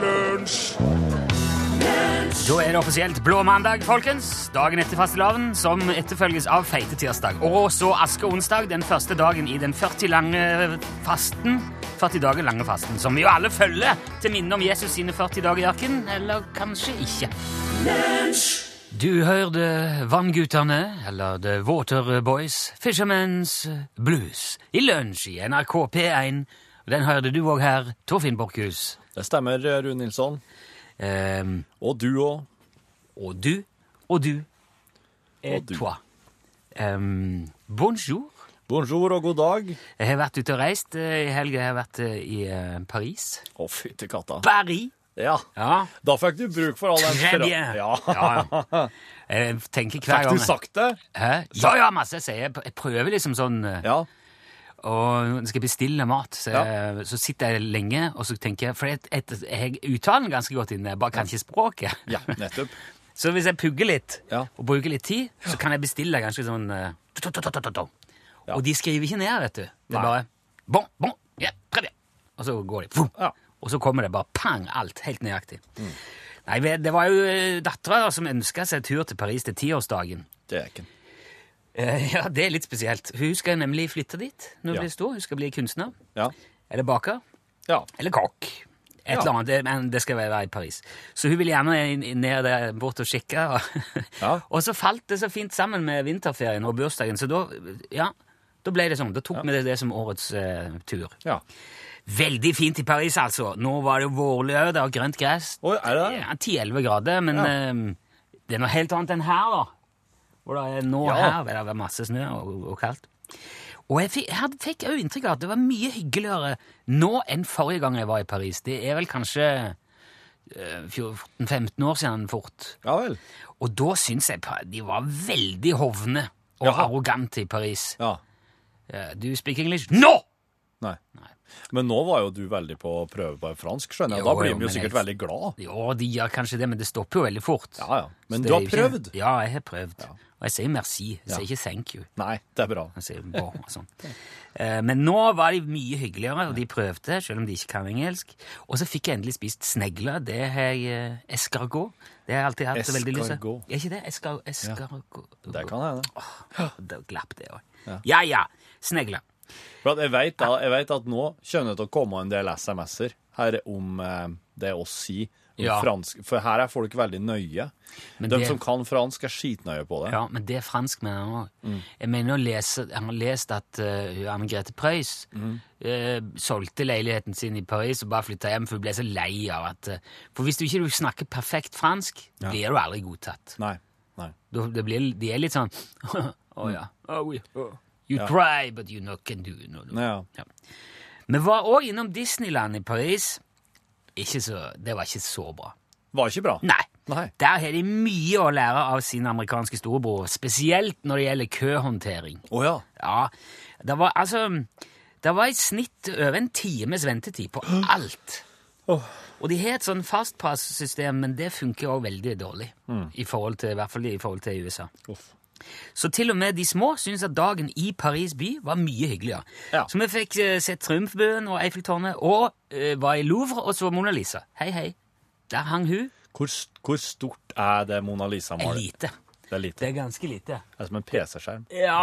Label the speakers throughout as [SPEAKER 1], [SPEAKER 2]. [SPEAKER 1] Lunsj!
[SPEAKER 2] Da er det offisielt blå mandag, folkens. Dagen etter fastelavn, som etterfølges av feite tirsdag. Og så askeonsdag, den første dagen i den 40 lange fasten. 40 dager lange fasten, som vi jo alle følger til minne om Jesus sine 40 dager i ørkenen. Eller kanskje ikke. Du hørte Vanngutane, eller The Water Boys, Fisherman's Blues, i lunsj i NRK P1. Den hørte du òg her, Torfinn Borchhus.
[SPEAKER 3] Det stemmer, Rune Nilsson.
[SPEAKER 2] Ehm,
[SPEAKER 3] Og du òg.
[SPEAKER 2] Og du, og du, et
[SPEAKER 3] Og du.
[SPEAKER 2] Eh, toi. Ehm, bonjour.
[SPEAKER 3] Bonjour og god dag. Å,
[SPEAKER 2] Jeg har vært ute og reist eh, i helga. Jeg har vært eh, i eh, Paris.
[SPEAKER 3] fytti katta.
[SPEAKER 2] Paris!
[SPEAKER 3] Ja.
[SPEAKER 2] Ja.
[SPEAKER 3] Da fikk du bruk for all den
[SPEAKER 2] Très
[SPEAKER 3] fra-
[SPEAKER 2] bien.
[SPEAKER 3] Ja.
[SPEAKER 2] Ja, Jeg tenker hver
[SPEAKER 3] Fikk
[SPEAKER 2] gang
[SPEAKER 3] du sagt det?
[SPEAKER 2] Hæ? Ja, ja, masse. Jeg, sier. jeg prøver liksom sånn eh,
[SPEAKER 3] Ja.
[SPEAKER 2] Og skal jeg bestille mat, så, eh, så sitter jeg lenge og så tenker jeg For jeg, jeg, jeg uttaler den ganske godt inne, jeg bare kan ikke språket.
[SPEAKER 3] Ja, nettopp.
[SPEAKER 2] Så hvis jeg pugger litt
[SPEAKER 3] Ja.
[SPEAKER 2] og bruker litt tid, så kan jeg bestille ganske sånn eh, to, to, to, to, to, to.
[SPEAKER 3] Ja.
[SPEAKER 2] Og de skriver ikke ned, vet du. Det
[SPEAKER 3] Nei.
[SPEAKER 2] er bare bon, bon, ja, très bien. Og så går de. Fum.
[SPEAKER 3] Ja. Mm.
[SPEAKER 2] Og så kommer det bare pang, alt helt nøyaktig. Nei, vel, Det var jo eh, dattera som ønska seg tur til Paris til tiårsdagen.
[SPEAKER 3] Det er ikke
[SPEAKER 2] Eh, Ja, det er litt spesielt. Hun skal nemlig flytte dit når hun
[SPEAKER 3] Ja.
[SPEAKER 2] blir stor. Hun skal bli kunstner.
[SPEAKER 3] Ja.
[SPEAKER 2] Eller baker.
[SPEAKER 3] Ja.
[SPEAKER 2] Eller kokk. Et
[SPEAKER 3] Ja.
[SPEAKER 2] eller annet, det- men det skal være i Paris. Så hun vil gjerne inn- inn- ned der bort og kikke. Og,
[SPEAKER 3] Ja.
[SPEAKER 2] og så falt det så fint sammen med vinterferien og bursdagen, så da, ja, da ble det sånn. Da tok vi det, det som årets eh, tur.
[SPEAKER 3] ja.
[SPEAKER 2] Veldig fint i Paris, altså. Nå var det jo vårlig òg, det var grønt gress.
[SPEAKER 3] Oi, er det det?
[SPEAKER 2] Ja, 10-11 grader, men
[SPEAKER 3] Ja.
[SPEAKER 2] eh, det er noe helt annet enn her, da. Hvor det er nå
[SPEAKER 3] Ja.
[SPEAKER 2] her vil det være masse snø og, og kaldt. Og jeg fikk, jeg hadde- fikk jo inntrykk av at det var mye hyggeligere nå enn forrige gang jeg var i Paris. Det er vel kanskje eh, 14-15 år siden fort.
[SPEAKER 3] Ja vel.
[SPEAKER 2] Og da syns jeg pa- de var veldig hovne og
[SPEAKER 3] Jaha.
[SPEAKER 2] arrogante i Paris.
[SPEAKER 3] Ja.
[SPEAKER 2] Eh, Du speak English? No!
[SPEAKER 3] Nei. Men nå var jo du veldig på å prøve på fransk, skjønner jeg.
[SPEAKER 2] Jo,
[SPEAKER 3] Da blir
[SPEAKER 2] jo,
[SPEAKER 3] vi jo
[SPEAKER 2] men
[SPEAKER 3] sikkert
[SPEAKER 2] jeg-
[SPEAKER 3] veldig glad.
[SPEAKER 2] Jo, de gjør kanskje det, men det stopper jo veldig fort.
[SPEAKER 3] Ja, ja.
[SPEAKER 2] Så
[SPEAKER 3] Men
[SPEAKER 2] det
[SPEAKER 3] du
[SPEAKER 2] er
[SPEAKER 3] har
[SPEAKER 2] jo ikke-
[SPEAKER 3] prøvd?
[SPEAKER 2] Ja, jeg har prøvd. Og jeg sier merci. Jeg
[SPEAKER 3] Ja.
[SPEAKER 2] sier ikke thank you.
[SPEAKER 3] Nei, det er bra.
[SPEAKER 2] Jeg sier bon og sånn. Eh, Men nå var de mye hyggeligere, og de prøvde, selv om de ikke kan engelsk. Og så fikk jeg endelig spist snegler. Det har jeg eh, escargot. Det har jeg alltid hatt så veldig lyst til.
[SPEAKER 3] Escargot.
[SPEAKER 2] Er ikke det escar escargot?
[SPEAKER 3] Det kan hende.
[SPEAKER 2] Da glapp det òg. Ja ja, snegler.
[SPEAKER 3] For at jeg, vet, da- jeg vet at nå kommer det til å komme en del SMS-er her om eh, det oss sier. om
[SPEAKER 2] Ja.
[SPEAKER 3] Fransk, for her er folk veldig nøye.
[SPEAKER 2] Men
[SPEAKER 3] De
[SPEAKER 2] det-
[SPEAKER 3] som kan fransk, er skitnøye på det.
[SPEAKER 2] Ja, men det er franskmennene òg.
[SPEAKER 3] Mm.
[SPEAKER 2] Jeg mener å lese, jeg har lest at eh, hun Anne Grete Preus
[SPEAKER 3] Mm.
[SPEAKER 2] eh, solgte leiligheten sin i Paris og bare flytta hjem, for hun ble så lei av at eh, For hvis du ikke du snakker perfekt fransk, blir du aldri godtatt.
[SPEAKER 3] Nei. nei.
[SPEAKER 2] Da- det blir, de er litt sånn Å ja. «Ah, oui. Ah. You try, but you not can do no, no.
[SPEAKER 3] Mm. Nei, ja.
[SPEAKER 2] Vi var òg innom Disneyland i Paris. Ikke så, det var ikke så bra.
[SPEAKER 3] Var ikke bra.
[SPEAKER 2] Nei.
[SPEAKER 3] Nei.
[SPEAKER 2] Der har de mye å lære av sin amerikanske storebror, spesielt når det gjelder køhåndtering.
[SPEAKER 3] Å ja.
[SPEAKER 2] Ja, det var altså Det var i snitt over en times ventetid på alt. Og de har et sånn fastpass-system, men det funker òg veldig dårlig.
[SPEAKER 3] Mm.
[SPEAKER 2] I, forhold til, I hvert fall i forhold til USA.
[SPEAKER 3] Uff.
[SPEAKER 2] Så til og med de små syns at dagen i Paris by var mye hyggeligere.
[SPEAKER 3] Ja.
[SPEAKER 2] Så vi fikk eh, sett Triumfbuen og Eiffeltårnet, og eh, var i Louvre og så Mona Lisa. Hei, hei. Der hang hun.
[SPEAKER 3] Hvor, s- hvor stort er det Mona
[SPEAKER 2] Eh,
[SPEAKER 3] Lisa-malet?
[SPEAKER 2] Lite.
[SPEAKER 3] Det er lite.
[SPEAKER 2] Det er ganske lite.
[SPEAKER 3] Det er som en PC-skjerm.
[SPEAKER 2] Ja,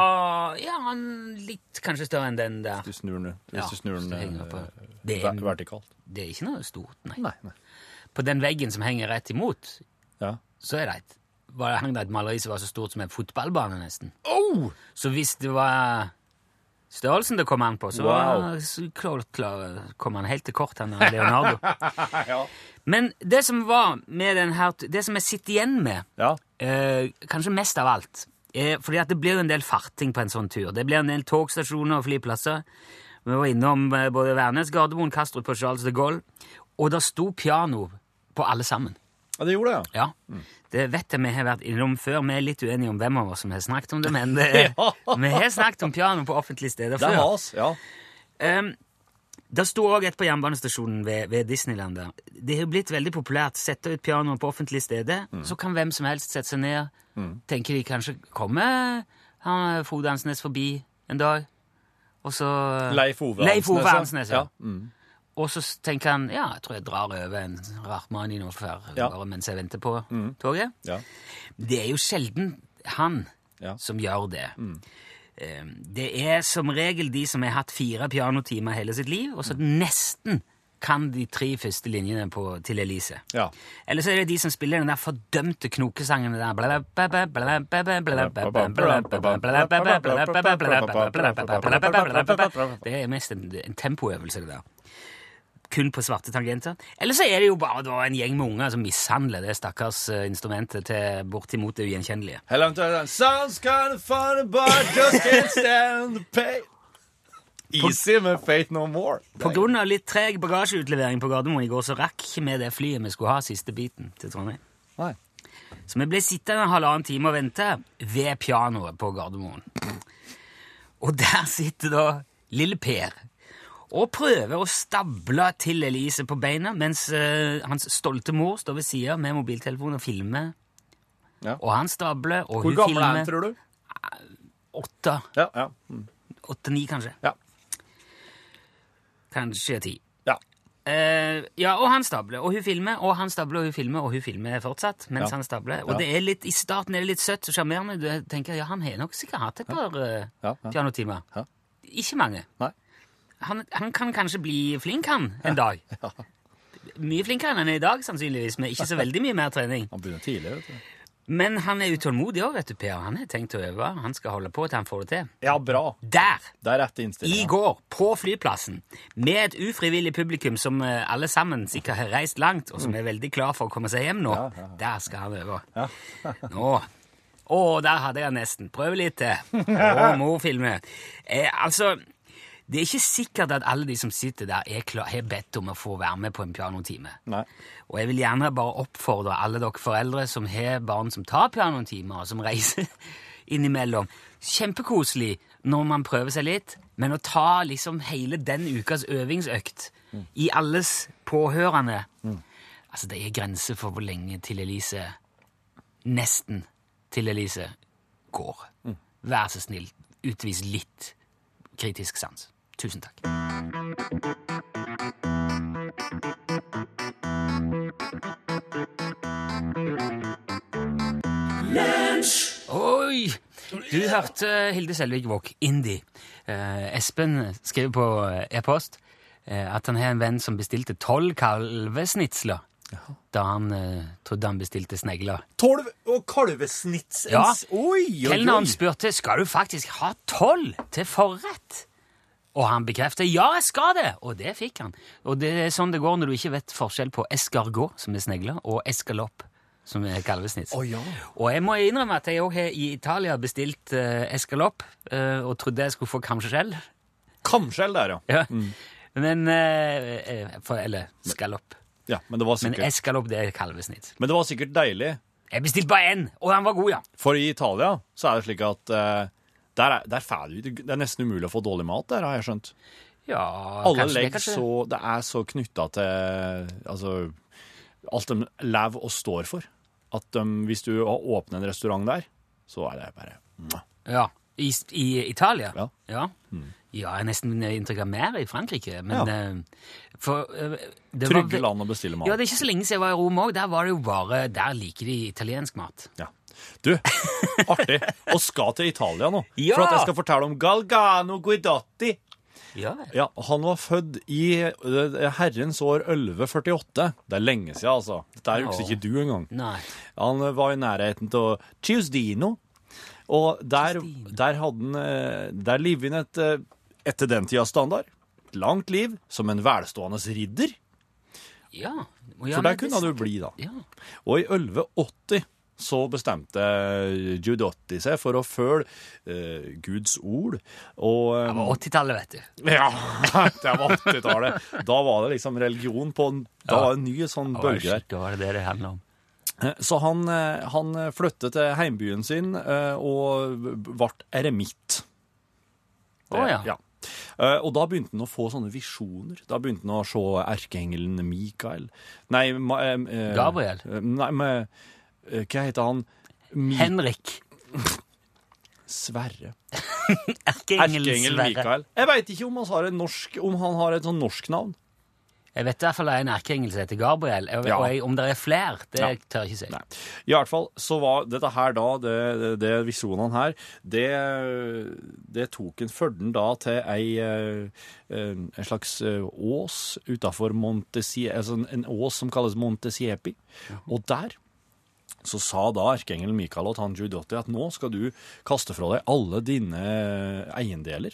[SPEAKER 2] ja han litt kanskje større enn den der.
[SPEAKER 3] Du snur den,
[SPEAKER 2] Ja,
[SPEAKER 3] hvis du snur den
[SPEAKER 2] så henger
[SPEAKER 3] eh,
[SPEAKER 2] det på. Det er-
[SPEAKER 3] ver- vertikalt.
[SPEAKER 2] Det er ikke noe stort, nei.
[SPEAKER 3] Nei, nei.
[SPEAKER 2] På den veggen som henger rett imot,
[SPEAKER 3] Ja.
[SPEAKER 2] så er det et, var, hang det et maleri som var så stort som en fotballbane, nesten.
[SPEAKER 3] Oh!
[SPEAKER 2] Så hvis det var størrelsen det kom an på, så,
[SPEAKER 3] Wow.
[SPEAKER 2] så klar, klar, kom han helt til kort, han der Leonardo. Men det som var med den her, det som jeg sitter igjen med,
[SPEAKER 3] Ja.
[SPEAKER 2] eh, kanskje mest av alt, eh, fordi at det blir jo en del farting på en sånn tur. Det blir en del togstasjoner og flyplasser. Vi var innom eh, både Værnes, Gardermoen, Kastrup og Charles de Gaulle, og det sto piano på alle sammen.
[SPEAKER 3] ja, det gjorde det, ja.
[SPEAKER 2] Ja, det vet jeg vi har vært innom før. Vi er litt uenige om hvem av oss som har snakket om det, men det, vi har snakket om piano på offentlige steder
[SPEAKER 3] Det er
[SPEAKER 2] før.
[SPEAKER 3] has, ja.
[SPEAKER 2] Um, det sto òg et på jernbanestasjonen ved, ved Disneyland der. Det har jo blitt veldig populært å sette ut pianoet på offentlige steder.
[SPEAKER 3] Mm.
[SPEAKER 2] Så kan hvem som helst sette seg ned. Tenker de kanskje kommer han Frode Ansnes forbi en dag, og så
[SPEAKER 3] Leif Ove
[SPEAKER 2] Leif Ove
[SPEAKER 3] Ansnes, ja. Mm.
[SPEAKER 2] Ansnes, ja. Og så s- tenker han ja, jeg tror jeg drar over en Rahmani nå for
[SPEAKER 3] Ja. Mm.
[SPEAKER 2] bare mens jeg venter på toget.
[SPEAKER 3] Ja.
[SPEAKER 2] Det er jo sjelden han
[SPEAKER 3] Ja. Mm.
[SPEAKER 2] som gjør det. Eh, Det er som regel de som har hatt fire pianotimer hele sitt liv, og så
[SPEAKER 3] Mm.
[SPEAKER 2] nesten kan de tre første linjene på, til Elise.
[SPEAKER 3] Ja.
[SPEAKER 2] Eller så er det de som spiller den der fordømte knokesangen der bla, bla, bla, bla, bla, bla, bla, bla, bla, bla, bla, bla, bla, bla, bla, bla, bla. Det er mest en, en tempoøvelse, det der. Kun på svarte tangenter. Eller så er det jo bare da, en gjeng med unger som mishandler det stakkars eh, instrumentet til bortimot det ugjenkjennelige.
[SPEAKER 3] Eller eventuelt en Sounds kind of funny, but just can't stand the pain. Easy med Fate No More.
[SPEAKER 2] På grunn av litt treg bagasjeutlevering på Gardermoen i går, så rakk ikke vi det flyet vi skulle ha siste biten til Trondheim.
[SPEAKER 3] Nei.
[SPEAKER 2] Så vi ble sittende en halvannen time og vente ved pianoet på Gardermoen. Og der sitter da lille Per og prøver å stable til Elise på beina, mens eh, hans stolte mor står ved sida med mobiltelefon og filmer.
[SPEAKER 3] Ja.
[SPEAKER 2] Og han stabler, og
[SPEAKER 3] Hvor
[SPEAKER 2] hun
[SPEAKER 3] gammel er
[SPEAKER 2] filmer.
[SPEAKER 3] han, tror du?
[SPEAKER 2] Åtte,
[SPEAKER 3] Ja, ja. Mm.
[SPEAKER 2] åtte-ni, kanskje.
[SPEAKER 3] Ja.
[SPEAKER 2] Kanskje ti.
[SPEAKER 3] ja.
[SPEAKER 2] Eh, ja, og han stabler, og hun filmer, og han stabler, og hun filmer, og hun filmer fortsatt. mens
[SPEAKER 3] Ja.
[SPEAKER 2] han stabler. Og
[SPEAKER 3] Ja.
[SPEAKER 2] det er litt, I starten er det litt søtt og sjarmerende. Du tenker ja, han har nok sikkert hatt et par eh,
[SPEAKER 3] Ja, ja.
[SPEAKER 2] pianotimer.
[SPEAKER 3] Ja.
[SPEAKER 2] Ikke mange.
[SPEAKER 3] Nei.
[SPEAKER 2] Han, han kan kanskje bli flink, han, en dag. Mye flinkere enn han er i dag, sannsynligvis, med ikke så veldig mye mer trening.
[SPEAKER 3] Han begynner tidlig, vet du.
[SPEAKER 2] Men han er utålmodig òg, vet du, Per. Han har tenkt å øve. Han skal holde på til han får det til.
[SPEAKER 3] Ja, bra.
[SPEAKER 2] Der!
[SPEAKER 3] Det er rette
[SPEAKER 2] I
[SPEAKER 3] innstillinga.
[SPEAKER 2] går, på flyplassen, med et ufrivillig publikum som eh, alle sammen sikkert har reist langt, og som er veldig klar for å komme seg hjem nå. Der skal han øve. Nå. Å, der hadde jeg nesten. Prøv litt til. Å, morfilme. Eh, altså, det er ikke sikkert at alle de som sitter der, er klar, har bedt om å få være med på en pianotime.
[SPEAKER 3] Nei.
[SPEAKER 2] Og jeg vil gjerne bare oppfordre alle dere foreldre som har barn som tar pianotimer, og som reiser innimellom. Kjempekoselig når man prøver seg litt, men å ta liksom hele den ukas øvingsøkt i alles påhørende Altså, det er grenser for hvor lenge til Elise Nesten til Elise går. Vær så snill, utvis litt kritisk sans. Tusen takk. Oi! Du hørte Hilde Selvik Våg, Indie. Eh, Espen skrev på e-post eh, at han har en venn som bestilte tolv kalvesnitsler da han eh, trodde han bestilte snegler.
[SPEAKER 3] Tolv og kalvesnits.
[SPEAKER 2] Ja.
[SPEAKER 3] Oi, oi,
[SPEAKER 2] Kelneren spurte skal du faktisk ha tolv til forrett. Og han bekreftet ja, jeg skal det! Og det fikk han. Og det er sånn det går når du ikke vet forskjell på escargot, som er snegler, og escalopp, som er kalvesnits.
[SPEAKER 3] Å, ja.
[SPEAKER 2] Og jeg må innrømme at jeg òg har i Italia bestilt uh, escalopp, eh, og trodde jeg skulle få kamskjell.
[SPEAKER 3] Kamskjell der, ja.
[SPEAKER 2] Ja. Men eh, eh, for, Eller skalopp.
[SPEAKER 3] ja. Men det var
[SPEAKER 2] Men
[SPEAKER 3] sikkert
[SPEAKER 2] escalopp, det er kalvesnitt.
[SPEAKER 3] Men det var sikkert deilig,
[SPEAKER 2] Jeg bestilte bare én, og han var god, ja.
[SPEAKER 3] for i Italia så er det slik at eh, der er, der fæl, det er nesten umulig å få dårlig mat der, har jeg skjønt.
[SPEAKER 2] ja
[SPEAKER 3] Alle
[SPEAKER 2] kanskje det,
[SPEAKER 3] legg
[SPEAKER 2] kanskje det.
[SPEAKER 3] så Det er så knytta til altså, alt de lever og står for. At de, hvis du åpner en restaurant der, så er det bare mwah.
[SPEAKER 2] Ja, i, i Italia?
[SPEAKER 3] Ja. Mm.
[SPEAKER 2] Ja. Ja, jeg har nesten inntrykk av mer i Frankrike, men
[SPEAKER 3] Ja.
[SPEAKER 2] eh, for, eh, det var ve-
[SPEAKER 3] Trygge land å bestille mat.
[SPEAKER 2] Ja, det er ikke så lenge siden jeg var i Rom òg. Der var det jo bare, der liker de italiensk mat.
[SPEAKER 3] Ja. Du, artig. Og skal til Italia nå.
[SPEAKER 2] Ja!
[SPEAKER 3] For at jeg skal fortelle om Galgano Guidotti.
[SPEAKER 2] Ja,
[SPEAKER 3] Ja, Han var født i eh, herrens år 1148. Det er lenge siden, altså. Dette
[SPEAKER 2] Ja.
[SPEAKER 3] husker ikke du engang.
[SPEAKER 2] Nei.
[SPEAKER 3] Han eh, var i nærheten av Ciusdino. Og der,
[SPEAKER 2] Ciusdino.
[SPEAKER 3] der hadde han eh, Der levde han et eh, etter den tida standard. Et langt liv som en velstående ridder.
[SPEAKER 2] Ja.
[SPEAKER 3] For der kunne han jo bli, da.
[SPEAKER 2] Ja.
[SPEAKER 3] Og i 1180 så bestemte eh, Giudotti seg for å følge eh, Guds ord. Og eh,
[SPEAKER 2] Det var 80-tallet, vet du.
[SPEAKER 3] Ja, det var 80-tallet. Da var det liksom religion på en, Da var det en ny sånn
[SPEAKER 2] Det var
[SPEAKER 3] bølge der.
[SPEAKER 2] skikkelig, var det det det handlet om.
[SPEAKER 3] Så han, eh, han flyttet til heimbyen sin eh, og ble eremitt. Det-
[SPEAKER 2] Å ja.
[SPEAKER 3] ja. Eh, Og da begynte han å få sånne visjoner. Da begynte han å se erkeengelen Mikael Nei, ma- eh, eh,
[SPEAKER 2] Gabriel.
[SPEAKER 3] eh, Nei, men eh, Hva heter han? Mi
[SPEAKER 2] Henrik.
[SPEAKER 3] Sverre.
[SPEAKER 2] Erkeengel
[SPEAKER 3] Erkeengelen
[SPEAKER 2] Sverre.
[SPEAKER 3] Mikael. Jeg veit ikke om han har, en norsk, om han har et sånn norsk navn.
[SPEAKER 2] Jeg vet i hvert fall det er en erkeengel som heter Gabriel. Og,
[SPEAKER 3] Ja.
[SPEAKER 2] og jeg, om det er flere, det
[SPEAKER 3] Ja.
[SPEAKER 2] tør jeg ikke si.
[SPEAKER 3] Nei. I hvert fall så var dette her da, det, det, det visjonene her, det, det tok en førden da til ei, eh, en en slags eh, ås utenfor Montesiepi, altså en, en ås som kalles Montesiepi, og der så sa da erkeengelen Mikael og Tanju Dotti at nå skal du kaste fra deg alle dine eiendeler,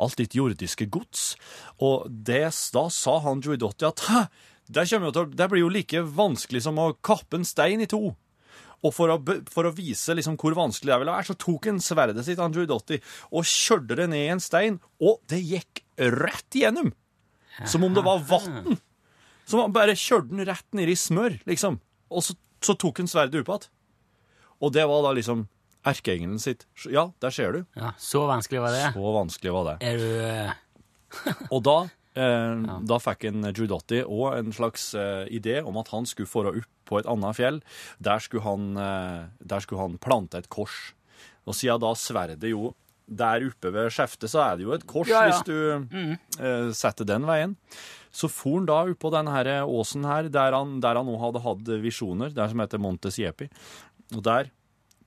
[SPEAKER 3] alt ditt jordiske gods. Og det, da sa han Dotti at Hæ, det, kommer jo til, å- det blir jo like vanskelig som å kappe en stein i to. Og for å, be- for å vise liksom hvor vanskelig det ville være, så tok han sverdet sitt han Dotti, og kjørte det ned i en stein, og det gikk rett igjennom. Som om det var vann. Så man bare kjørte den rett ned i smør, liksom. Og så, så tok han sverdet opp igjen. Og det var da liksom erkeengelen sitt. Ja, der ser du.
[SPEAKER 2] Ja, så vanskelig var det.
[SPEAKER 3] Så vanskelig var det.
[SPEAKER 2] Er du eh,
[SPEAKER 3] Og da, eh, da fikk en Giudotti og en slags eh, idé om at han skulle fara opp på et annet fjell. Der skulle han, eh, der skulle han plante et kors. Og siden da sverdet jo der oppe ved skjeftet, så er det jo et kors
[SPEAKER 2] Ja, Mm. ja.
[SPEAKER 3] hvis du eh, setter den veien. Så for han da oppå denne her åsen her, der han, der han nå hadde hatt visjoner, der som heter Montesiepi. Og der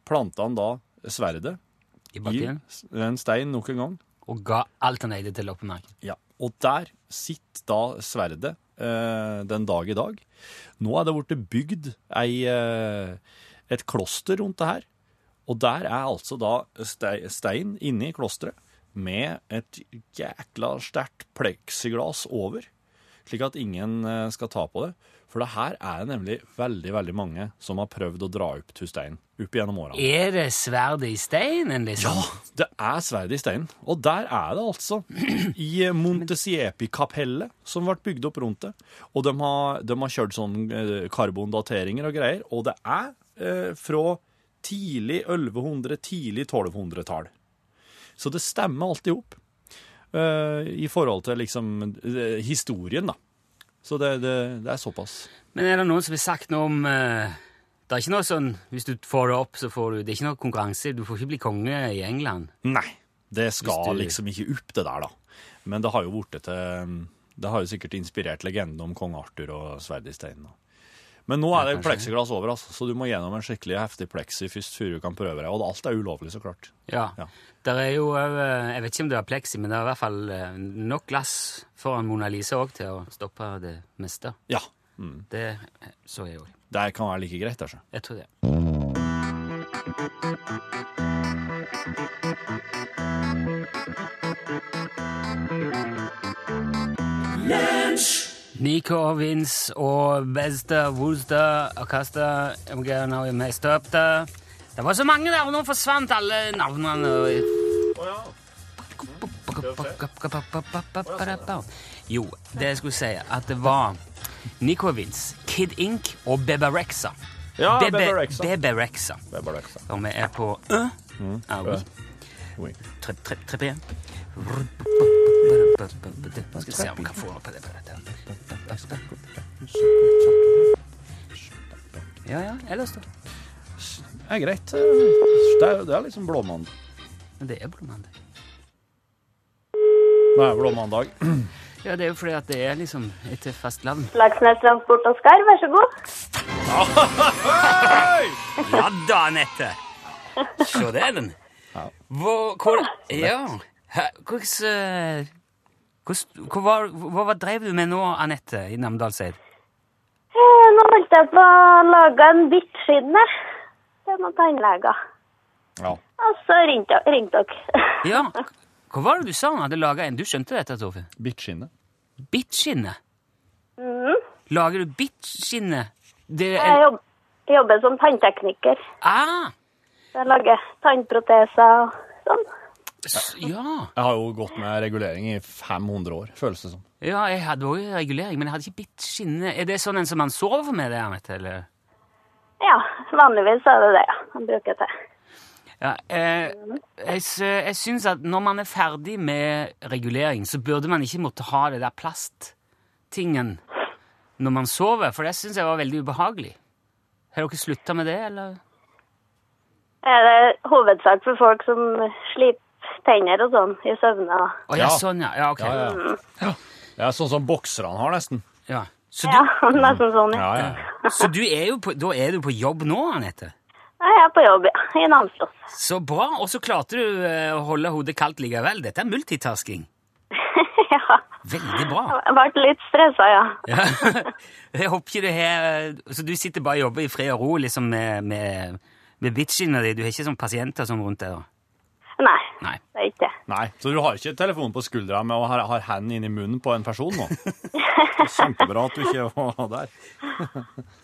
[SPEAKER 3] planta han da sverdet
[SPEAKER 2] i
[SPEAKER 3] i
[SPEAKER 2] bakken?
[SPEAKER 3] s- en stein nok en gang.
[SPEAKER 2] Og ga alt han eide til loppemarked.
[SPEAKER 3] Ja, og der sitter da sverdet eh, den dag i dag. Nå er det blitt bygd ei, eh, et kloster rundt det her. Og der er altså da ste- stein inne i klosteret med et jækla sterkt pleksiglass over, slik at ingen eh, skal ta på det. For det her er nemlig veldig, veldig mange som har prøvd å dra opp til steinen opp gjennom årene.
[SPEAKER 2] Er det sverdet i steinen,
[SPEAKER 3] Ja,
[SPEAKER 2] liksom?
[SPEAKER 3] det er sverdet i steinen. Og der er det altså. I Montesiepi-kapellet som ble bygd opp rundt det. Og de har, de har kjørt sånn eh, karbondateringer og greier. Og det er eh, fra tidlig 1100, tidlig 1200-tall. Så det stemmer alltid opp eh, i forhold til liksom eh, historien, da. Så det, det, det er såpass.
[SPEAKER 2] Men er det noen som har sagt noe om eh, Det er ikke noe sånn hvis du får det opp, så får du Det er ikke noe konkurranse. Du får ikke bli konge i England.
[SPEAKER 3] Nei, det skal
[SPEAKER 2] Hvis du-
[SPEAKER 3] liksom ikke opp det der da. Men det har jo vært til, det har jo sikkert inspirert legenden om Kong Arthur og Sverd i steinen. da. Men nå er det
[SPEAKER 2] kanskje.
[SPEAKER 3] pleksiglass over, altså, så du må gjennom en skikkelig heftig pleksi først før du kan prøve deg. Og alt er ulovlig, så klart.
[SPEAKER 2] Ja.
[SPEAKER 3] Ja.
[SPEAKER 2] Der er jo òg Jeg vet ikke om det er pleksi, men det er i hvert fall eh, nok glass foran Mona Lisa òg til å stoppe det meste.
[SPEAKER 3] Ja, mm.
[SPEAKER 2] Det eh, så jeg òg.
[SPEAKER 3] det kan være like greit, altså.
[SPEAKER 2] Jeg tror det. Nico Vince og Beste Woolster og Kasta I'm gonna know you messed up the Det var så mange der, og nå forsvant alle navnene. og- Jo, det jeg skulle si, at det var Nico Vince, Kid Ink og Beberexa.
[SPEAKER 3] Ja,
[SPEAKER 2] Bebe-
[SPEAKER 3] Beberexa.
[SPEAKER 2] Beberexa.
[SPEAKER 3] Det er bare det.
[SPEAKER 2] Og vi er på Ø. Ah, oui.
[SPEAKER 3] Oui.
[SPEAKER 2] Tre, tre, tre, tre. Nå skal vi se om vi kan få noe på det. På dette. Ja, ja, ellers da.
[SPEAKER 3] Det er greit. Det er, det er liksom blåmandag.
[SPEAKER 2] Men det er blåmandag.
[SPEAKER 3] Det er blåmandag.
[SPEAKER 2] Ja, det er jo fordi at det er liksom etter fastland.
[SPEAKER 1] Laksnes Transport og Skar, vær så god.
[SPEAKER 2] Ja da, Anette! Se det, Ellen. Hvor, hvor Ja. Hæ, Hvordan eh, hvordan- Hva, var- hva, hva drev du med nå, Anette, i Namdalseid?
[SPEAKER 1] Eh, Nå holdt jeg på å lage en bittskinn jeg, til noen tannleger.
[SPEAKER 3] Ja.
[SPEAKER 1] Og så ringte ringte dere.
[SPEAKER 2] Ja, hva var det du sa hun hadde laga en? Du skjønte dette, Torfinn?
[SPEAKER 3] Bittskinne.
[SPEAKER 2] Bittskinne? Lager du bittskinne? Det
[SPEAKER 1] Jeg
[SPEAKER 2] er
[SPEAKER 1] jobb, jobber som tanntekniker.
[SPEAKER 2] ah,
[SPEAKER 1] Jeg lager tannproteser og sånn.
[SPEAKER 2] s- ja.
[SPEAKER 3] Jeg har jo gått med regulering i 500 år, føles det som.
[SPEAKER 2] ja, jeg hadde òg regulering, men jeg hadde ikke bittskinne. Er det sånn en som man sover med, det, Anette? Eller?
[SPEAKER 1] Ja, vanligvis er det det ja, jeg bruker til.
[SPEAKER 2] Ja, eh, jeg, sy- jeg syns at når man er ferdig med regulering, så burde man ikke måtte ha det der plasttingen når man sover, for det syns jeg var veldig ubehagelig. Har dere slutta med det, eller?
[SPEAKER 1] Er det hovedsak for folk som sliter tenner og sånn i søvne? og-
[SPEAKER 2] Å ja,
[SPEAKER 3] Ja.
[SPEAKER 2] sånn, ja. Ja, ok.
[SPEAKER 3] Ja, ja. Det er sånn som bokserne har, nesten.
[SPEAKER 2] Ja. Så,
[SPEAKER 1] Ja,
[SPEAKER 2] du,
[SPEAKER 1] nesten sånn. Ja.
[SPEAKER 3] ja.
[SPEAKER 2] så du er jo på, da er du på jobb nå, Anette?
[SPEAKER 1] Jeg er på jobb, ja. I Namsos.
[SPEAKER 2] Så bra. Og så klarte du eh, å holde hodet kaldt likevel. Dette er multitasking.
[SPEAKER 1] ja.
[SPEAKER 2] Veldig bra.
[SPEAKER 1] Jeg ble litt stressa, ja.
[SPEAKER 2] Ja. Jeg håper ikke du har Så du sitter bare og jobber i fred og ro liksom med, med, med bitchene dine? Du har ikke sånn pasienter som rundt deg? da?
[SPEAKER 1] Nei,
[SPEAKER 2] Nei.
[SPEAKER 1] det er ikke det.
[SPEAKER 3] Nei, så du har ikke telefonen på skuldra med og har, har hendene inni munnen på en person nå? Kjempebra at du ikke var der.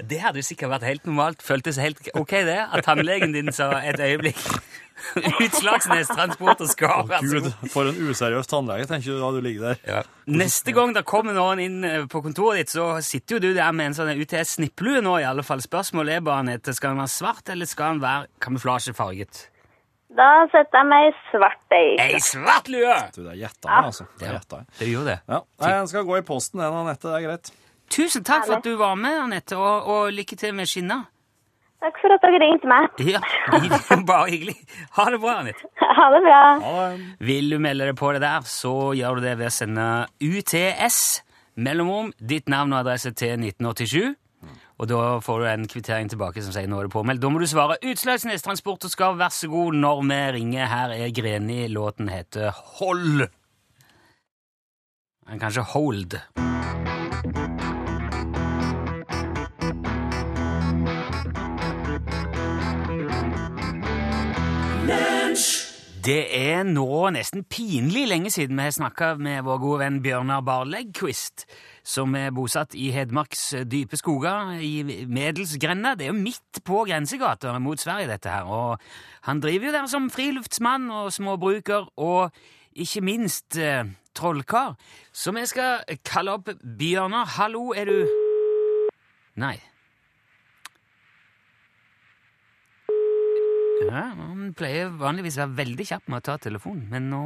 [SPEAKER 2] Det hadde jo sikkert vært helt normalt. Føltes helt ok, det. At tannlegen din sa et øyeblikk Utslagsnes transport og skar.
[SPEAKER 3] Gud, for en useriøs tannlege, tenker du da du ligger der.
[SPEAKER 2] Ja. Neste gang det kommer noen inn eh, på kontoret ditt, så sitter jo du der med en sånn UTS-snipplue nå, i alle fall. Spørsmålet er bare, Anette, skal den være svart, eller skal den være kamuflasjefarget?
[SPEAKER 1] Da setter jeg meg i svart, jeg.
[SPEAKER 2] Ei svart lue!
[SPEAKER 3] Du, det er gjetta jeg, altså. Det er gjetta jeg.
[SPEAKER 2] Det gjorde det.
[SPEAKER 3] Ja, Nei, den skal gå i posten, den, Anette. Det er greit.
[SPEAKER 2] Tusen takk for at du var med, Anette, og, og lykke til med skinna.
[SPEAKER 1] Takk for at dere ringte meg.
[SPEAKER 2] Ja, bare hyggelig. Ha det bra, Anette.
[SPEAKER 1] Ha det bra.
[SPEAKER 3] Ha det.
[SPEAKER 2] Vil du melde deg på det der, så gjør du det ved å sende UTS, mellomrom, ditt navn og adresse til 1987. Og da får du en kvittering tilbake som sier nå er det påmeldt. Da må du svare Utslagsnes Transport og Skarv, vær så god, når vi ringer. Her er Greni. Låten heter Hold. Men kanskje Hold. Det er nå nesten pinlig lenge siden vi har snakka med vår gode venn Bjørnar Barlegquist, som er bosatt i Hedmarks dype skoger i Medelsgrenda. Det er jo midt på grensegata mot Sverige, dette her. Og han driver jo der som friluftsmann og småbruker, og ikke minst eh, trollkar. Så vi skal kalle opp Bjørnar. Hallo, er du Nei. Ja, han pleier vanligvis å være veldig kjapp med å ta telefonen, men nå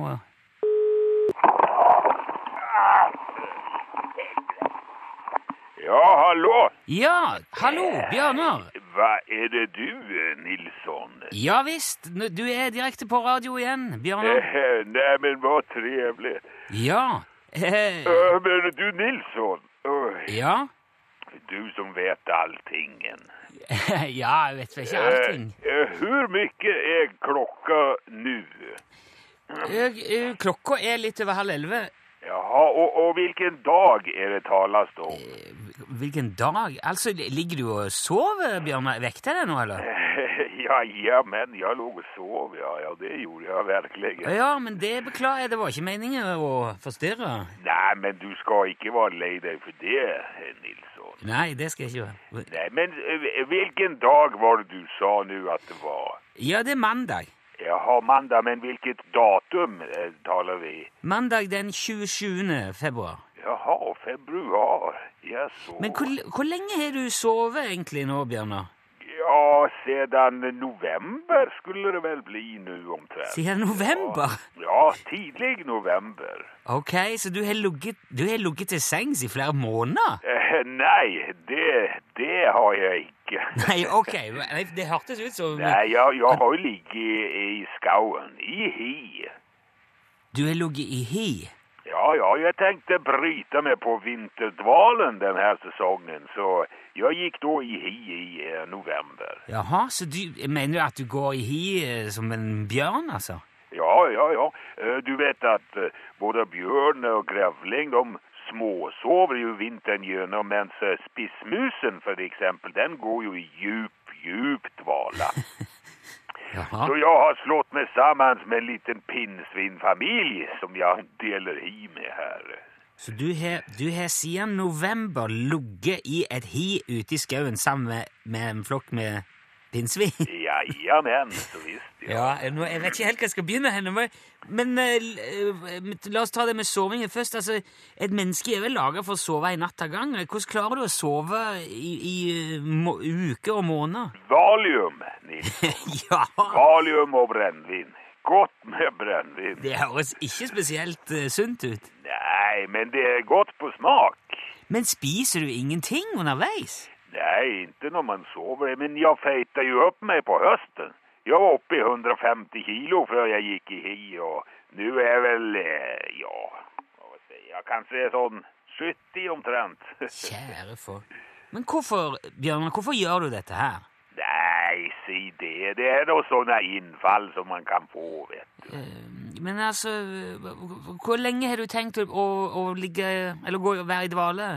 [SPEAKER 4] Ja, hallå!
[SPEAKER 2] Ja, hallo, Bjørnar!
[SPEAKER 4] Hva er det du, eh, Nilsson?
[SPEAKER 2] Ja visst, n- du er direkte på radio igjen, Bjørnar.
[SPEAKER 4] Eh, Nej, men vad trevligt.
[SPEAKER 2] Ja. eh,
[SPEAKER 4] Eh, Men du, Nilsson, eh,
[SPEAKER 2] Ja?
[SPEAKER 4] du som vet alltingen.
[SPEAKER 2] Ja, jeg vet vel ikke
[SPEAKER 4] Eh,
[SPEAKER 2] allting.
[SPEAKER 4] eh, Hur mycket är klocka nu?
[SPEAKER 2] Eh, eh, Klokka er litt over halv elleve.
[SPEAKER 4] Jaha, och, och vilken dag är det talas om?
[SPEAKER 2] Eh, Hvilken dag? Altså, ligger du og sover, Bjørnar? Vekte jeg deg nå, eller?
[SPEAKER 4] Jajamän, jag låg och sov, ja, ja, det gjorde jeg verkligen.
[SPEAKER 2] Ja, men det beklager jeg, det var ikke meningen å forstyrre.
[SPEAKER 4] Nej, men du ska inte vara lei dig for det, eh, Nilsson.
[SPEAKER 2] Nei, det skal jeg ikke gjøre.
[SPEAKER 4] Nej, men eh, vilken dag var det du sa nu att det var?
[SPEAKER 2] Ja, det er mandag.
[SPEAKER 4] Jaha, mandag, men vilket datum eh, talar vi?
[SPEAKER 2] Mandag den 27. februar.
[SPEAKER 4] Jaha, februari. Jaså.
[SPEAKER 2] Men hvor, hvor lenge har du sovet egentlig nå, Bjørnar?
[SPEAKER 4] Ja, sedan november skulle det väl bli nu omtrent.
[SPEAKER 2] Siden november?
[SPEAKER 4] Ja, tidlig november.
[SPEAKER 2] Ok, så du har ligget, du har ligget til sengs i flere måneder?
[SPEAKER 4] Eh, nej, det, det har jag ikke.
[SPEAKER 2] Nei, ok, nei, det hørtes ut som
[SPEAKER 4] Nej, jag, jag har ju ligget i, i skauen, i hi.
[SPEAKER 2] du har ligget i hi.
[SPEAKER 4] Ja, ja, jag tänkte bryta mig på vinterdvalen den här säsongen, så jag gick då i hi i eh, november.
[SPEAKER 2] Jaha, så du mener du at du går i hi eh, som en bjørn, altså?
[SPEAKER 4] Ja, ja, ja. Eh, Du vet at eh, både bjørn og grevling de småsover jo vinteren gjennom, mens eh, spissmusen for eksempel, den går jo i djup, djup dvala. Så
[SPEAKER 2] Jaha.
[SPEAKER 4] jeg har slått meg sammen med en liten pinnsvinfamilj som jeg deler hi med her.
[SPEAKER 2] Så du har, du har siden november ligget i et hi ute i skauen sammen med, med en flokk med pinnsvin?
[SPEAKER 4] Jajamän, så visst ja.
[SPEAKER 2] Ja, nå, jeg vet ikke helt hva jeg skal begynne henne med, men eh, l- eh, men la oss ta det med sovingen først. Altså, et menneske er vel laget for å sove en natt av gang. Hvordan klarer du å sove i, i eh, må, uker og måneder?
[SPEAKER 4] Valium, Nils.
[SPEAKER 2] ja,
[SPEAKER 4] Valium og brennvin. Godt med brennvin.
[SPEAKER 2] det høres ikke spesielt eh, sunt ut.
[SPEAKER 4] Nei, men det er godt på smak.
[SPEAKER 2] Men spiser du ingenting underveis?
[SPEAKER 4] Nej, inte när man sover. Men jag fejtade ju upp mig på hösten. Jag var uppe i 150 kilo för jag gick i hi och nu är jag väl, eh, ja, vad säger jag, kanske är sån 70 omtrent.
[SPEAKER 2] Kjære folk. Men hvorfor, Bjørnar, hvorfor gjør du dette her?
[SPEAKER 4] Nei, si det. Det er noen sånne innfall som man kan få, vet du.
[SPEAKER 2] Men altså, hvor lenge har du tenkt å, å, å ligge Eller gå, være i dvale?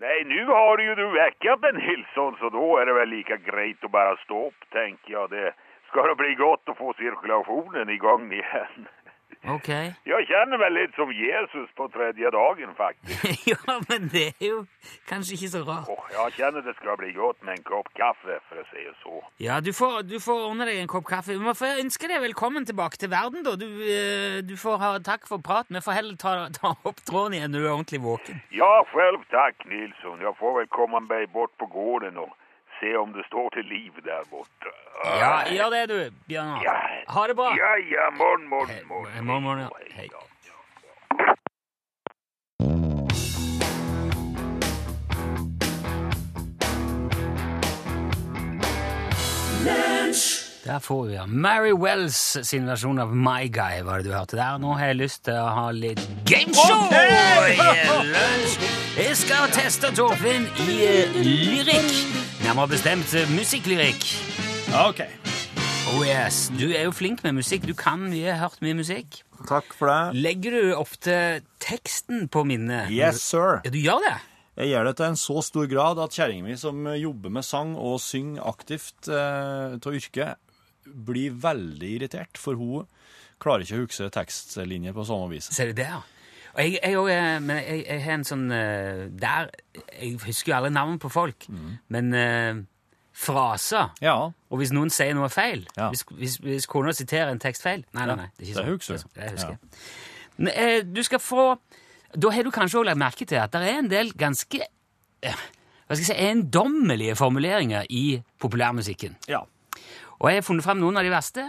[SPEAKER 4] Nei, nå har jo du vekket en Nilsson, så da er det vel like greit å bare stå opp, tenker jeg. Det skal det bli godt å få sirkulasjonen i gang igjen.
[SPEAKER 2] Ok.
[SPEAKER 4] Jeg kjenner meg litt som Jesus på tredje dagen, faktisk.
[SPEAKER 2] ja, men det er jo kanskje ikke så rart.
[SPEAKER 4] Åh, jeg kjenner det skal bli godt med en kopp kaffe, for å si det så.
[SPEAKER 2] Ja, du får, du får ordne deg en kopp kaffe. Vi får ønske deg velkommen tilbake til verden, da. Du, eh, du får ha takk for praten. Vi får heller ta, ta opp tråden igjen når du er ordentlig våken.
[SPEAKER 4] Ja, selv takk, Nilsson. Jeg får vel komme meg bort på gården og se om det står til liv der borte.
[SPEAKER 2] Ja, gjør det, du, Bjørnar.
[SPEAKER 4] Ja.
[SPEAKER 2] Ha det bra.
[SPEAKER 4] Ja, ja, morgen, morgen,
[SPEAKER 2] Eh,
[SPEAKER 4] morgen.
[SPEAKER 2] morgen, morgen, ja. Hei. Der får vi ja. Mary Wells sin versjon av My Guy var det du hørte der. Nå har jeg lyst til å ha litt gameshow! i lunsj. Jeg skal teste Torfinn i eh, lyrikk. Nærmere bestemt eh, musikklyrikk.
[SPEAKER 3] OK.
[SPEAKER 2] Oh yes, Du er jo flink med musikk. Du kan mye, har hørt mye musikk.
[SPEAKER 3] Takk for det.
[SPEAKER 2] Legger du ofte teksten på minnet?
[SPEAKER 3] Yes, sir.
[SPEAKER 2] Ja, du gjør det?
[SPEAKER 3] Jeg gjør det til en så stor grad at kjerringa mi, som jobber med sang og synger aktivt eh, av yrke, blir veldig irritert, for hun klarer ikke å huske tekstlinjer på samme vis.
[SPEAKER 2] Ser du der? Og jeg, jeg, og, eh, men jeg, jeg har en sånn eh, Der Jeg husker jo alle navn på folk, men eh, fraser
[SPEAKER 3] Mm. Ja,
[SPEAKER 2] Og hvis noen sier noe feil
[SPEAKER 3] Ja.
[SPEAKER 2] Hvis, hvis, hvis kona siterer en tekst feil Nei, nei, nei. Det, er ikke
[SPEAKER 3] det
[SPEAKER 2] sånn.
[SPEAKER 3] husker
[SPEAKER 2] Det, er sånn.
[SPEAKER 3] du.
[SPEAKER 2] det husker jeg. Men, eh, du skal få Da har du kanskje også lagt merke til at det er en del ganske eh, hva skal jeg si, eiendommelige formuleringer i populærmusikken.
[SPEAKER 3] ja.
[SPEAKER 2] Og jeg har funnet frem noen av de verste,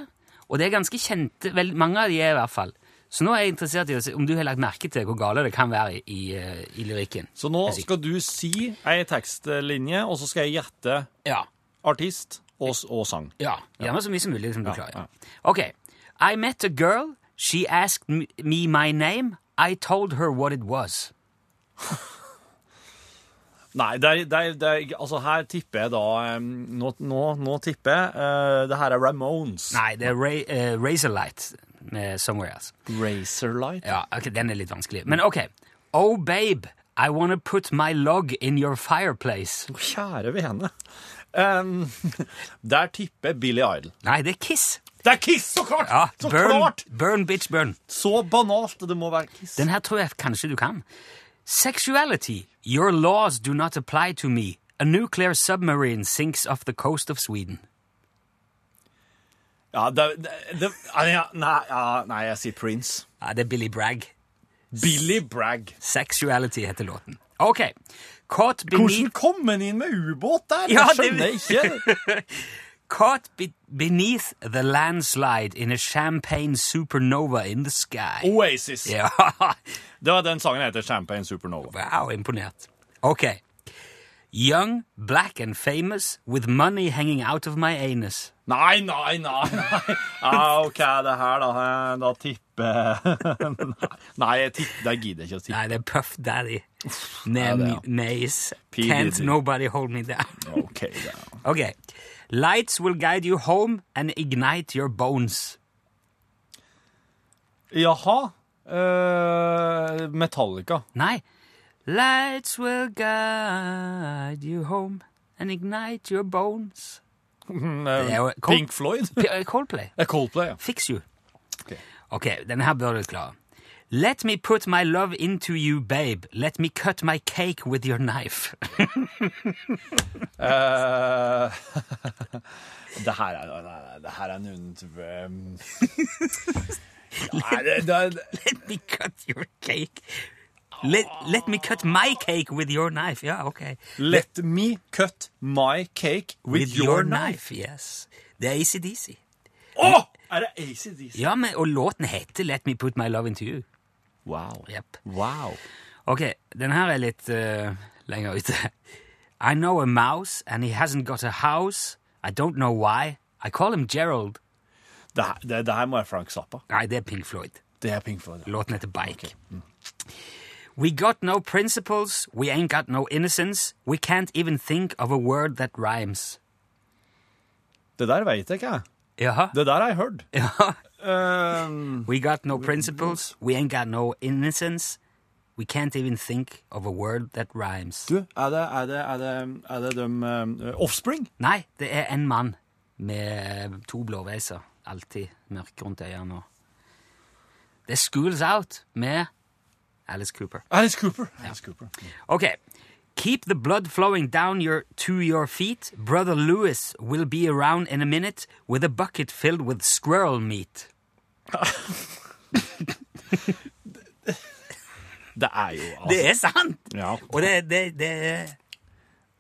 [SPEAKER 2] og det er ganske kjente, vel, mange av de er i hvert fall. Så nå er jeg interessert i å se om du har lagt merke til hvor gale det kan være i, i, eh, i lyrikken.
[SPEAKER 3] Så nå
[SPEAKER 2] Musikk.
[SPEAKER 3] skal du si ei tekstlinje, og så skal jeg gjette
[SPEAKER 2] Ja,
[SPEAKER 3] artist og, s- og sang.
[SPEAKER 2] ja, gjerne så mye som mulig som du klarer.
[SPEAKER 3] ja.
[SPEAKER 2] Ok. I met a girl, she asked m- me my name, I told her what it was.
[SPEAKER 3] Nei, der, der, der, altså her tipper jeg da eh, Nå, nå, nå tipper jeg eh, Det her er Ramones.
[SPEAKER 2] Nei, det er Ra eh, Razorlight med Somewhere Else.
[SPEAKER 3] Razorlight.
[SPEAKER 2] Ja, ok, den er litt vanskelig. Men ok. Oh babe, I wanna put my log in your fireplace.
[SPEAKER 3] Å, Kjære vene. Um, der tipper jeg Billy Idol.
[SPEAKER 2] Nei, det er Kiss.
[SPEAKER 3] Det er Kiss, så klart!
[SPEAKER 2] Ja,
[SPEAKER 3] så
[SPEAKER 2] burn,
[SPEAKER 3] klart!
[SPEAKER 2] burn bitch burn.
[SPEAKER 3] Så banalt det må være Kiss.
[SPEAKER 2] Den her tror jeg kanskje du kan. Sexuality. Your laws do not apply to me. A nuclear submarine sinks off the coast of Sweden.
[SPEAKER 3] Ja, det, det, det, nei, ja, nei, ja, nei, jeg sier Prince.
[SPEAKER 2] Ja, det er Billy Bragg.
[SPEAKER 3] Billy Bragg.
[SPEAKER 2] Sexuality heter låten. Ok. Caught
[SPEAKER 3] Hvordan
[SPEAKER 2] beneath,
[SPEAKER 3] kom han inn med ubåt der?
[SPEAKER 2] Ja,
[SPEAKER 3] Jeg
[SPEAKER 2] det-
[SPEAKER 3] skjønner ikke.
[SPEAKER 2] caught be beneath the landslide in a champagne supernova in the sky.
[SPEAKER 3] Oh. Oasis.
[SPEAKER 2] Ja,
[SPEAKER 3] Det var den sangen heter Champagne Supernova.
[SPEAKER 2] wow, imponert. Ok. Young, black and famous, with money hanging out of my anus.
[SPEAKER 3] Nei, nei, nei, nei. Ja, OK, det her, da. eh, Da tipper Nei, Nei, jeg tipper, det gidder jeg ikke å tippe.
[SPEAKER 2] Nei, det er Puff Daddy.
[SPEAKER 3] det er
[SPEAKER 2] Nem,
[SPEAKER 3] han.
[SPEAKER 2] Nays.
[SPEAKER 3] P.
[SPEAKER 2] Can't
[SPEAKER 3] Diddy.
[SPEAKER 2] nobody hold me down.
[SPEAKER 3] OK, da.
[SPEAKER 2] Ok. Lights will guide you home and ignite your bones.
[SPEAKER 3] Jaha. eh, Metallica.
[SPEAKER 2] Nei. Lights will guide you home and ignite your bones. Det er jo- Cold-
[SPEAKER 3] Pink Floyd?
[SPEAKER 2] P- eh, Coldplay.
[SPEAKER 3] Det er Coldplay, ja.
[SPEAKER 2] Fix you.
[SPEAKER 3] Ok.
[SPEAKER 2] Ok, denne her bør du klare. Let me put my love into you, babe. Let me cut my cake with your knife.
[SPEAKER 3] Eh, det her er nei, nei, Det her er noen type um, Nei, det, det, det
[SPEAKER 2] Let me cut your cake. Let, let me cut my cake with your knife. Ja, ok.
[SPEAKER 3] Let me cut my cake with,
[SPEAKER 2] With
[SPEAKER 3] your knife.
[SPEAKER 2] yes. Det er ACDC.
[SPEAKER 3] Å! er det ACDC?
[SPEAKER 2] Ja, men, og låten heter Let Me Put My Love Into You.
[SPEAKER 3] Wow.
[SPEAKER 2] Jep.
[SPEAKER 3] Wow.
[SPEAKER 2] Ok, den her er litt eh, lenger ute. I know a mouse and he hasn't got a house. I don't know why. I call him Gerald.
[SPEAKER 3] Det, her- det, det her må være Frank Zappa.
[SPEAKER 2] Nei, det er Pink Floyd.
[SPEAKER 3] Det er Pink Floyd. ja.
[SPEAKER 2] Låten heter Bike. We got no principles, we ain't got no innocence, we can't even think of a word that rhymes.
[SPEAKER 3] Det der vet jeg ikke, jeg.
[SPEAKER 2] Jaha.
[SPEAKER 3] Det der har jeg hørt. Ehm,
[SPEAKER 2] We got no principles, we ain't got no innocence, we can't even think of a word that rhymes.
[SPEAKER 3] du, er det, er det, er det, er det dem eh, Offspring?
[SPEAKER 2] Nei, det er en mann med to blåveiser. Alltid mørk rundt øynene. og- Det er Schools Out med Alice Cooper.
[SPEAKER 3] Alice Cooper. Alice Cooper.
[SPEAKER 2] Okay. Keep the blood flowing down your to your feet. Brother Lewis will be around in a minute with a bucket filled with squirrel meat.
[SPEAKER 3] Det er jo altså
[SPEAKER 2] Det er sant!
[SPEAKER 3] Ja.
[SPEAKER 2] Og det, det, det er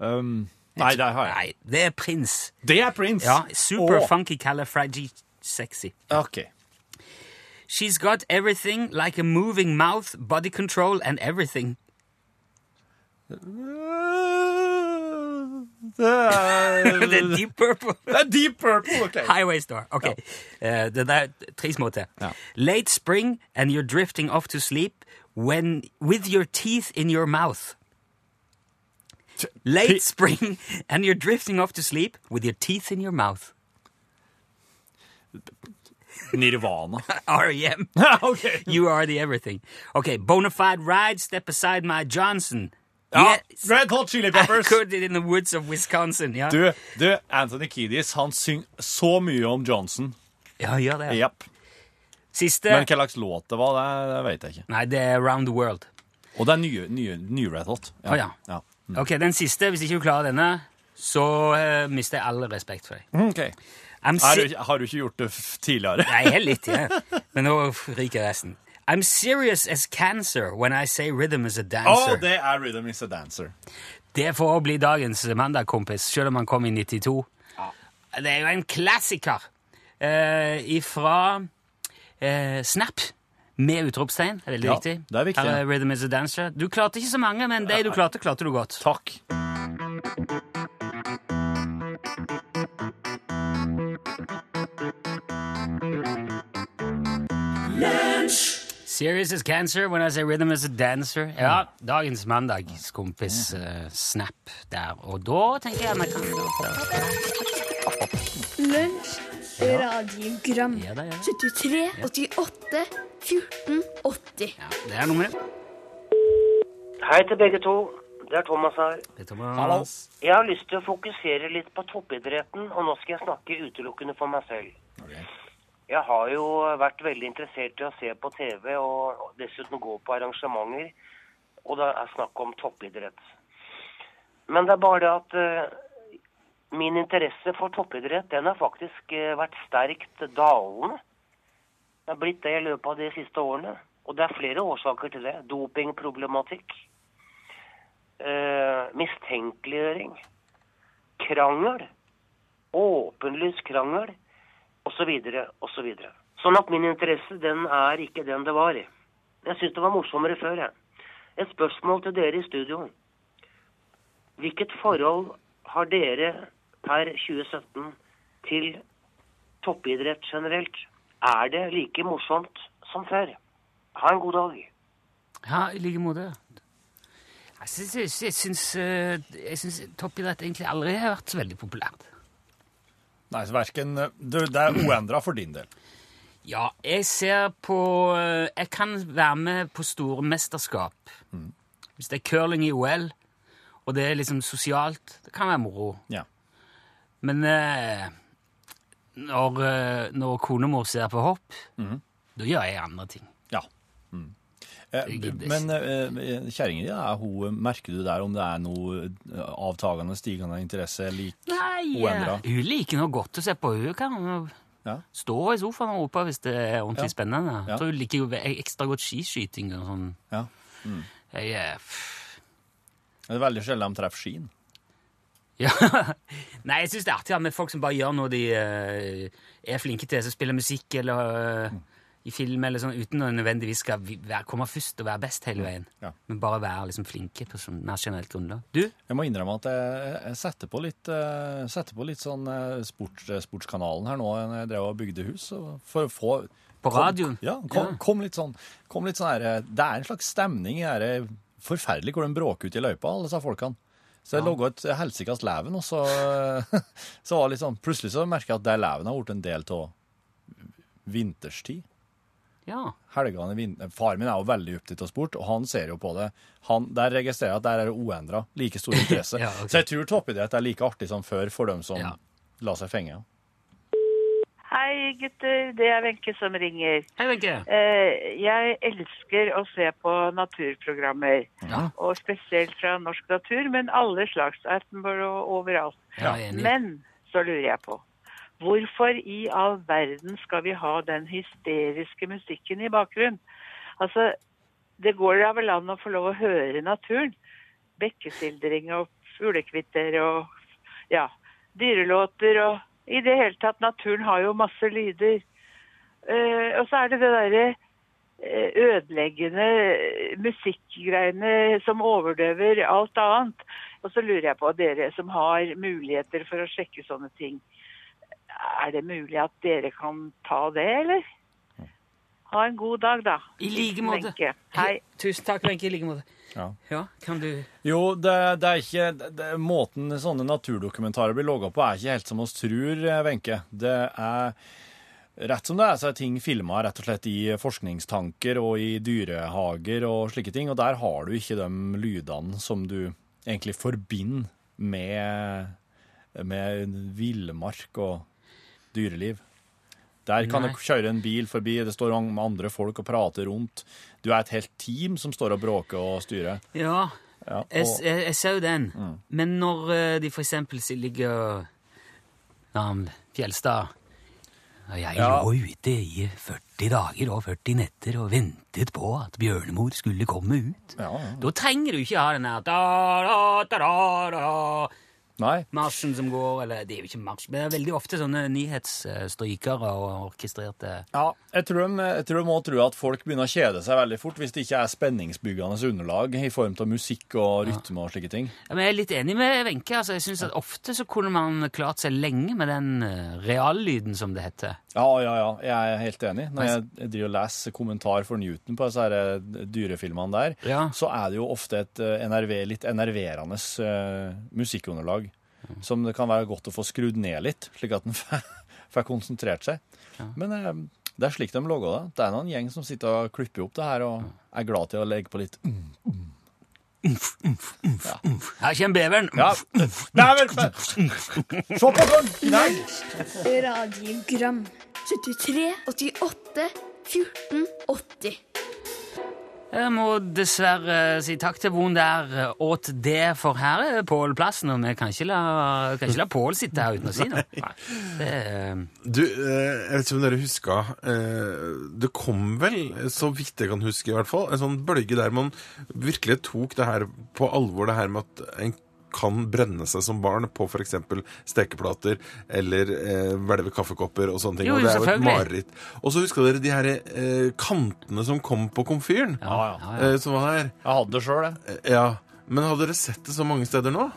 [SPEAKER 3] Ehm, nei, det har jeg.
[SPEAKER 2] Nei, det er Prins.
[SPEAKER 3] Det er Prince.
[SPEAKER 2] Ja, super
[SPEAKER 3] Åh,
[SPEAKER 2] funky califragi sexy.
[SPEAKER 3] Ok.
[SPEAKER 2] She's got everything like a moving mouth, body control and everything.
[SPEAKER 3] Det er,
[SPEAKER 2] det er Deep Purple.
[SPEAKER 3] Det er Deep Purple. ok.
[SPEAKER 2] Highway Star. Ok, Eh, det der tre små til.
[SPEAKER 3] Ja.
[SPEAKER 2] Late spring and you're drifting off to sleep when, with your teeth in your mouth. Late spring and you're drifting off to sleep with your teeth in your mouth.
[SPEAKER 3] Nirvana.
[SPEAKER 2] R.E.M.
[SPEAKER 3] ok.
[SPEAKER 2] You are the everything. Okay, Bonafide Ride, Step Aside My Johnson.
[SPEAKER 3] Ja,
[SPEAKER 2] Yes,
[SPEAKER 3] Red Hot Chili
[SPEAKER 2] I
[SPEAKER 3] Peppers.
[SPEAKER 2] could it in the woods of Wisconsin. Ja,
[SPEAKER 3] Du, du, Anthony Kiedis, han synger så mye om Johnson.
[SPEAKER 2] ja gjør det.
[SPEAKER 3] Japp.
[SPEAKER 2] Siste.
[SPEAKER 3] Men hva slags låt det var, det, det vet jeg ikke.
[SPEAKER 2] Nei, det er Round the World.
[SPEAKER 3] Og det er nye, nye, nye Red Hot.
[SPEAKER 2] Å, ja.
[SPEAKER 3] Mm.
[SPEAKER 2] Ok, den siste. Hvis ikke du klarer denne, så eh, mister jeg all respekt for deg.
[SPEAKER 3] Mm, Ok.
[SPEAKER 2] I'm
[SPEAKER 3] Er
[SPEAKER 2] si-
[SPEAKER 3] du, har du ikke gjort det f- tidligere?
[SPEAKER 2] Nei, helt litt, ja. Men nå ryker resten. I'm serious as cancer when I say rhythm is a
[SPEAKER 3] Å,
[SPEAKER 2] dancer. det...
[SPEAKER 3] det er Rhythm is a Dancer.
[SPEAKER 2] får bli dagens mandagkompis, selv om han kom i 92. Det er jo en klassiker eh, ifra eh, Snap. Med utropstegn. Det er Veldig
[SPEAKER 3] Ja,
[SPEAKER 2] viktig.
[SPEAKER 3] det er viktig,
[SPEAKER 2] Her
[SPEAKER 3] ja.
[SPEAKER 2] er Rhythm is a Dancer. Du klarte ikke så mange, men de du klarte, klarte du godt.
[SPEAKER 3] Takk.
[SPEAKER 2] Serious as cancer when I say rhythm is a dancer. Ja,
[SPEAKER 3] Mm.
[SPEAKER 2] dagens mandagskompis eh, Snap der. Og da tenker jeg meg kan
[SPEAKER 5] Lunsj, radiogram
[SPEAKER 2] Ja da, ja.
[SPEAKER 5] 73, 88, 14, 80
[SPEAKER 2] Ja, det er noe med det.
[SPEAKER 6] Hei til begge to. Det er Thomas her.
[SPEAKER 2] Det er Thomas.
[SPEAKER 3] Hallo.
[SPEAKER 6] Jeg har lyst til å fokusere litt på toppidretten, og nå skal jeg snakke utelukkende for meg selv. Jeg har jo vært veldig interessert i å se på TV og dessuten gå på arrangementer, og det er snakk om toppidrett. Men det er bare det at eh, min interesse for toppidrett, den har faktisk eh, vært sterkt dalende. Det har blitt det i løpet av de siste årene, og det er flere årsaker til det. Dopingproblematikk, eh, mistenkeliggjøring, krangel, åpenlys krangel, osv., osv. Sånn at min interesse, den er ikke den det var. Jeg syns det var morsommere før, jeg. Et spørsmål til dere i studio. Hvilket forhold har dere per 2017 til toppidrett generelt? Er det like morsomt som før? Ha en god dag.
[SPEAKER 2] Ja, i like måte. Jeg syns, jeg, jeg syns, eh, jeg syns toppidrett egentlig aldri har vært så veldig populært.
[SPEAKER 3] Nei, så hverken, du, det er uendra for din del.
[SPEAKER 2] Ja, jeg ser på eh, Jeg kan være med på store mesterskap. Hvis det er curling i OL, og det er liksom sosialt, det kan være moro.
[SPEAKER 3] Ja.
[SPEAKER 2] Men eh, når, eh, når konemor ser på hopp, da gjør jeg andre ting.
[SPEAKER 3] ja. Eh,
[SPEAKER 2] Jeg gidder
[SPEAKER 3] men eh, kjerringa di, er hun- eh, merker du der om det er noe eh, avtagende, stigende interesse? Lik?
[SPEAKER 2] Nei,
[SPEAKER 3] Uendra.
[SPEAKER 2] Hun liker noe godt å se på. Hun kan
[SPEAKER 3] Ja.
[SPEAKER 2] stå i sofaen og rope hvis det er ordentlig
[SPEAKER 3] Ja.
[SPEAKER 2] spennende.
[SPEAKER 3] Ja.
[SPEAKER 2] Jeg tror hun liker jo ve- ekstra godt skiskyting og sånn.
[SPEAKER 3] Ja.
[SPEAKER 2] Jeg, eh, pff.
[SPEAKER 3] Det er veldig sjelden de treffer skien.
[SPEAKER 2] ja. Nei, jeg syns det er artig ja, med folk som bare gjør noe de eh, er flinke til, som spiller musikk eller eh, i film eller sånn, uten å nødvendigvis skal vi- være, komme først og være best hele veien.
[SPEAKER 3] Mm. Ja.
[SPEAKER 2] Men bare være liksom flinke på sånn mer generelt grunnlag. Du?
[SPEAKER 3] Jeg må innrømme at jeg, jeg setter, på litt, eh, setter på litt sånn eh, sports, eh, sportskanalen her nå når jeg drev og bygde hus. og For å få
[SPEAKER 2] På radioen?
[SPEAKER 3] Kom, ja, kom,
[SPEAKER 2] Ja.
[SPEAKER 3] kom litt sånn, kom litt sånn her, eh, Det er en slags stemning i det her, eh, forferdelig hvor de bråker ut i løypa, alle disse folkene. Så jeg logga et helsikas leven, og så, eh, så var det litt sånn, plutselig så merka jeg at det leven har blitt en del av vinterstid
[SPEAKER 2] Ja.
[SPEAKER 3] helgene i vin- eh, Far min er jo veldig opptatt av sport, og han ser jo på det. Han, der registrerer jeg at der er det uendra like stor interesse.
[SPEAKER 2] Ja, ok.
[SPEAKER 3] Så jeg tror toppidrett er like artig som før for dem som
[SPEAKER 2] Ja.
[SPEAKER 3] la seg fenge.
[SPEAKER 6] Hei, gutter. Det er Wenche som ringer.
[SPEAKER 2] Hei, Wenche.
[SPEAKER 6] Eh, jeg elsker å se på naturprogrammer.
[SPEAKER 2] Ja.
[SPEAKER 6] Og spesielt fra norsk natur, men alle slags. Attenborough og overalt.
[SPEAKER 2] Ja, jeg er enig.
[SPEAKER 6] Men så lurer jeg på Hvorfor i all verden skal vi ha den hysteriske musikken i bakgrunnen? Altså, det går da vel an å få lov å høre naturen? Bekkesildring og fuglekvitter og ja, dyrelåter og I det hele tatt, naturen har jo masse lyder. Eh, og så er det det derre eh, ødeleggende eh, musikkgreiene som overdøver alt annet. Og så lurer jeg på dere som har muligheter for å sjekke sånne ting. Er det mulig at dere kan ta det, eller? Ha en god dag, da.
[SPEAKER 2] I like måte.
[SPEAKER 6] Wenche. Hei.
[SPEAKER 2] Tusen takk, Wenche. I like måte.
[SPEAKER 3] Ja.
[SPEAKER 2] Ja, kan du
[SPEAKER 3] Jo, det, det er ikke det, det, Måten sånne naturdokumentarer blir laga på, er ikke helt som oss tror, eh, Wenche. Det er Rett som det er, så er ting filma rett og slett i forskningstanker og i dyrehager og slike ting, og der har du ikke de lydene som du egentlig forbinder med, med villmark og dyreliv. Der kan
[SPEAKER 2] Nei.
[SPEAKER 3] du kjøre en bil forbi, det står an- andre folk og prater rundt. Du er et helt team som står og bråker og styrer.
[SPEAKER 2] Ja.
[SPEAKER 3] Ja,
[SPEAKER 2] Jeg,
[SPEAKER 3] og- Mm.
[SPEAKER 2] jeg, jeg så jo den. Men når eh, de for eksempel si- ligger eh, ja, Fjelstad «Ja, Jeg
[SPEAKER 3] Ja.
[SPEAKER 2] lå ute i 40 dager og 40 netter og ventet på at bjørnemor skulle komme ut.
[SPEAKER 3] Ja, ja.
[SPEAKER 2] Da trenger du ikke ha den der da-da-da-da-da-marsjen
[SPEAKER 3] Nei,
[SPEAKER 2] som går, eller det er jo ikke marsj, men det er veldig ofte sånne nyhetsstrykere og orkestrerte
[SPEAKER 3] Ja, jeg tror, de, jeg tror de må tro at folk begynner å kjede seg veldig fort hvis det ikke er spenningsbyggende underlag i form av musikk og rytme og slike ting.
[SPEAKER 2] Ja, men jeg er litt enig med Wenche. Altså, jeg synes at Ofte så kunne man klart seg lenge med den eh, reallyden, som det heter.
[SPEAKER 3] Ja, ja, ja, jeg er helt enig. Når jeg, jeg driver og leser kommentar for Newton på disse her eh, dyrefilmene der,
[SPEAKER 2] Ja.
[SPEAKER 3] så er det jo ofte et eh, NRV, litt enerverende eh, musikkunderlag som det kan være godt å få skrudd ned litt, slik at en får får konsentrert seg. Men eh, det er slik de lager det. Det er noen gjeng som sitter og klipper opp det her og er glad til å legge på litt
[SPEAKER 2] Her kommer beveren!
[SPEAKER 3] Ja. Nei, vel, men- Se på den! Nei.
[SPEAKER 5] Radiogram 73 88 14 80
[SPEAKER 2] Jeg må dessverre eh, si takk til Von der eh, åt det, for her er Pål plassen, og vi kan ikke la, kan ikke la Pål sitte her uten å si noe. Det, er-
[SPEAKER 7] Du, eh, jeg vet ikke om dere husker eh, Det kom vel, så vidt jeg kan huske i hvert fall, en sånn bølge der man virkelig tok det her på alvor, det her med at en kan brenne seg som barn på f.eks. stekeplater eller eh, hvelve kaffekopper og sånne ting.
[SPEAKER 2] Jo,
[SPEAKER 7] og det er jo et
[SPEAKER 2] selvfølgelig.
[SPEAKER 7] mareritt. Og så husker dere de her eh, kantene som kom på komfyren?
[SPEAKER 2] ja, ja.
[SPEAKER 7] Eh, som var her.
[SPEAKER 3] Jeg hadde det sjøl, jeg.
[SPEAKER 7] Eh, Ja. Men har dere sett det så mange steder nå?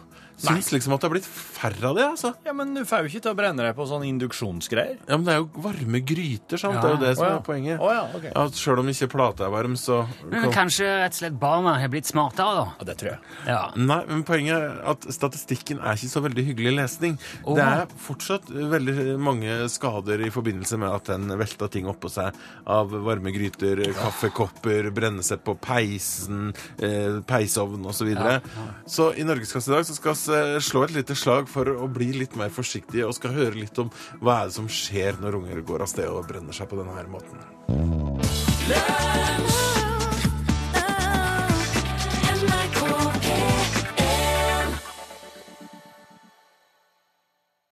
[SPEAKER 7] Syns liksom at det har blitt færre av det, altså.
[SPEAKER 3] Ja, men du får jo ikke til å brenne deg på sånne induksjonsgreier.
[SPEAKER 7] Ja, men det er jo varme gryter,
[SPEAKER 2] Ja.
[SPEAKER 7] sant? Det er jo det som
[SPEAKER 3] Å, ja.
[SPEAKER 7] er poenget.
[SPEAKER 3] Å, ja, ok.
[SPEAKER 7] At selv om ikke plata er varm, så
[SPEAKER 2] Men kanskje rett og slett barna har blitt smartere, da.
[SPEAKER 3] Ja, det tror jeg.
[SPEAKER 2] Ja.
[SPEAKER 7] Nei, men poenget er at statistikken er ikke så veldig hyggelig lesning.
[SPEAKER 2] Åh.
[SPEAKER 7] Det er fortsatt veldig mange skader i forbindelse med at den velta ting oppå seg av varme gryter, kaffekopper, brenne seg på peisen, eh, peisovn osv. Så, videre. så i Norgeskasse i dag så skal vi eh, slå et lite slag for å bli litt mer forsiktige og skal høre litt om hva er det som skjer når unger går av sted og brenner seg på denne her måten.
[SPEAKER 8] Lunsj!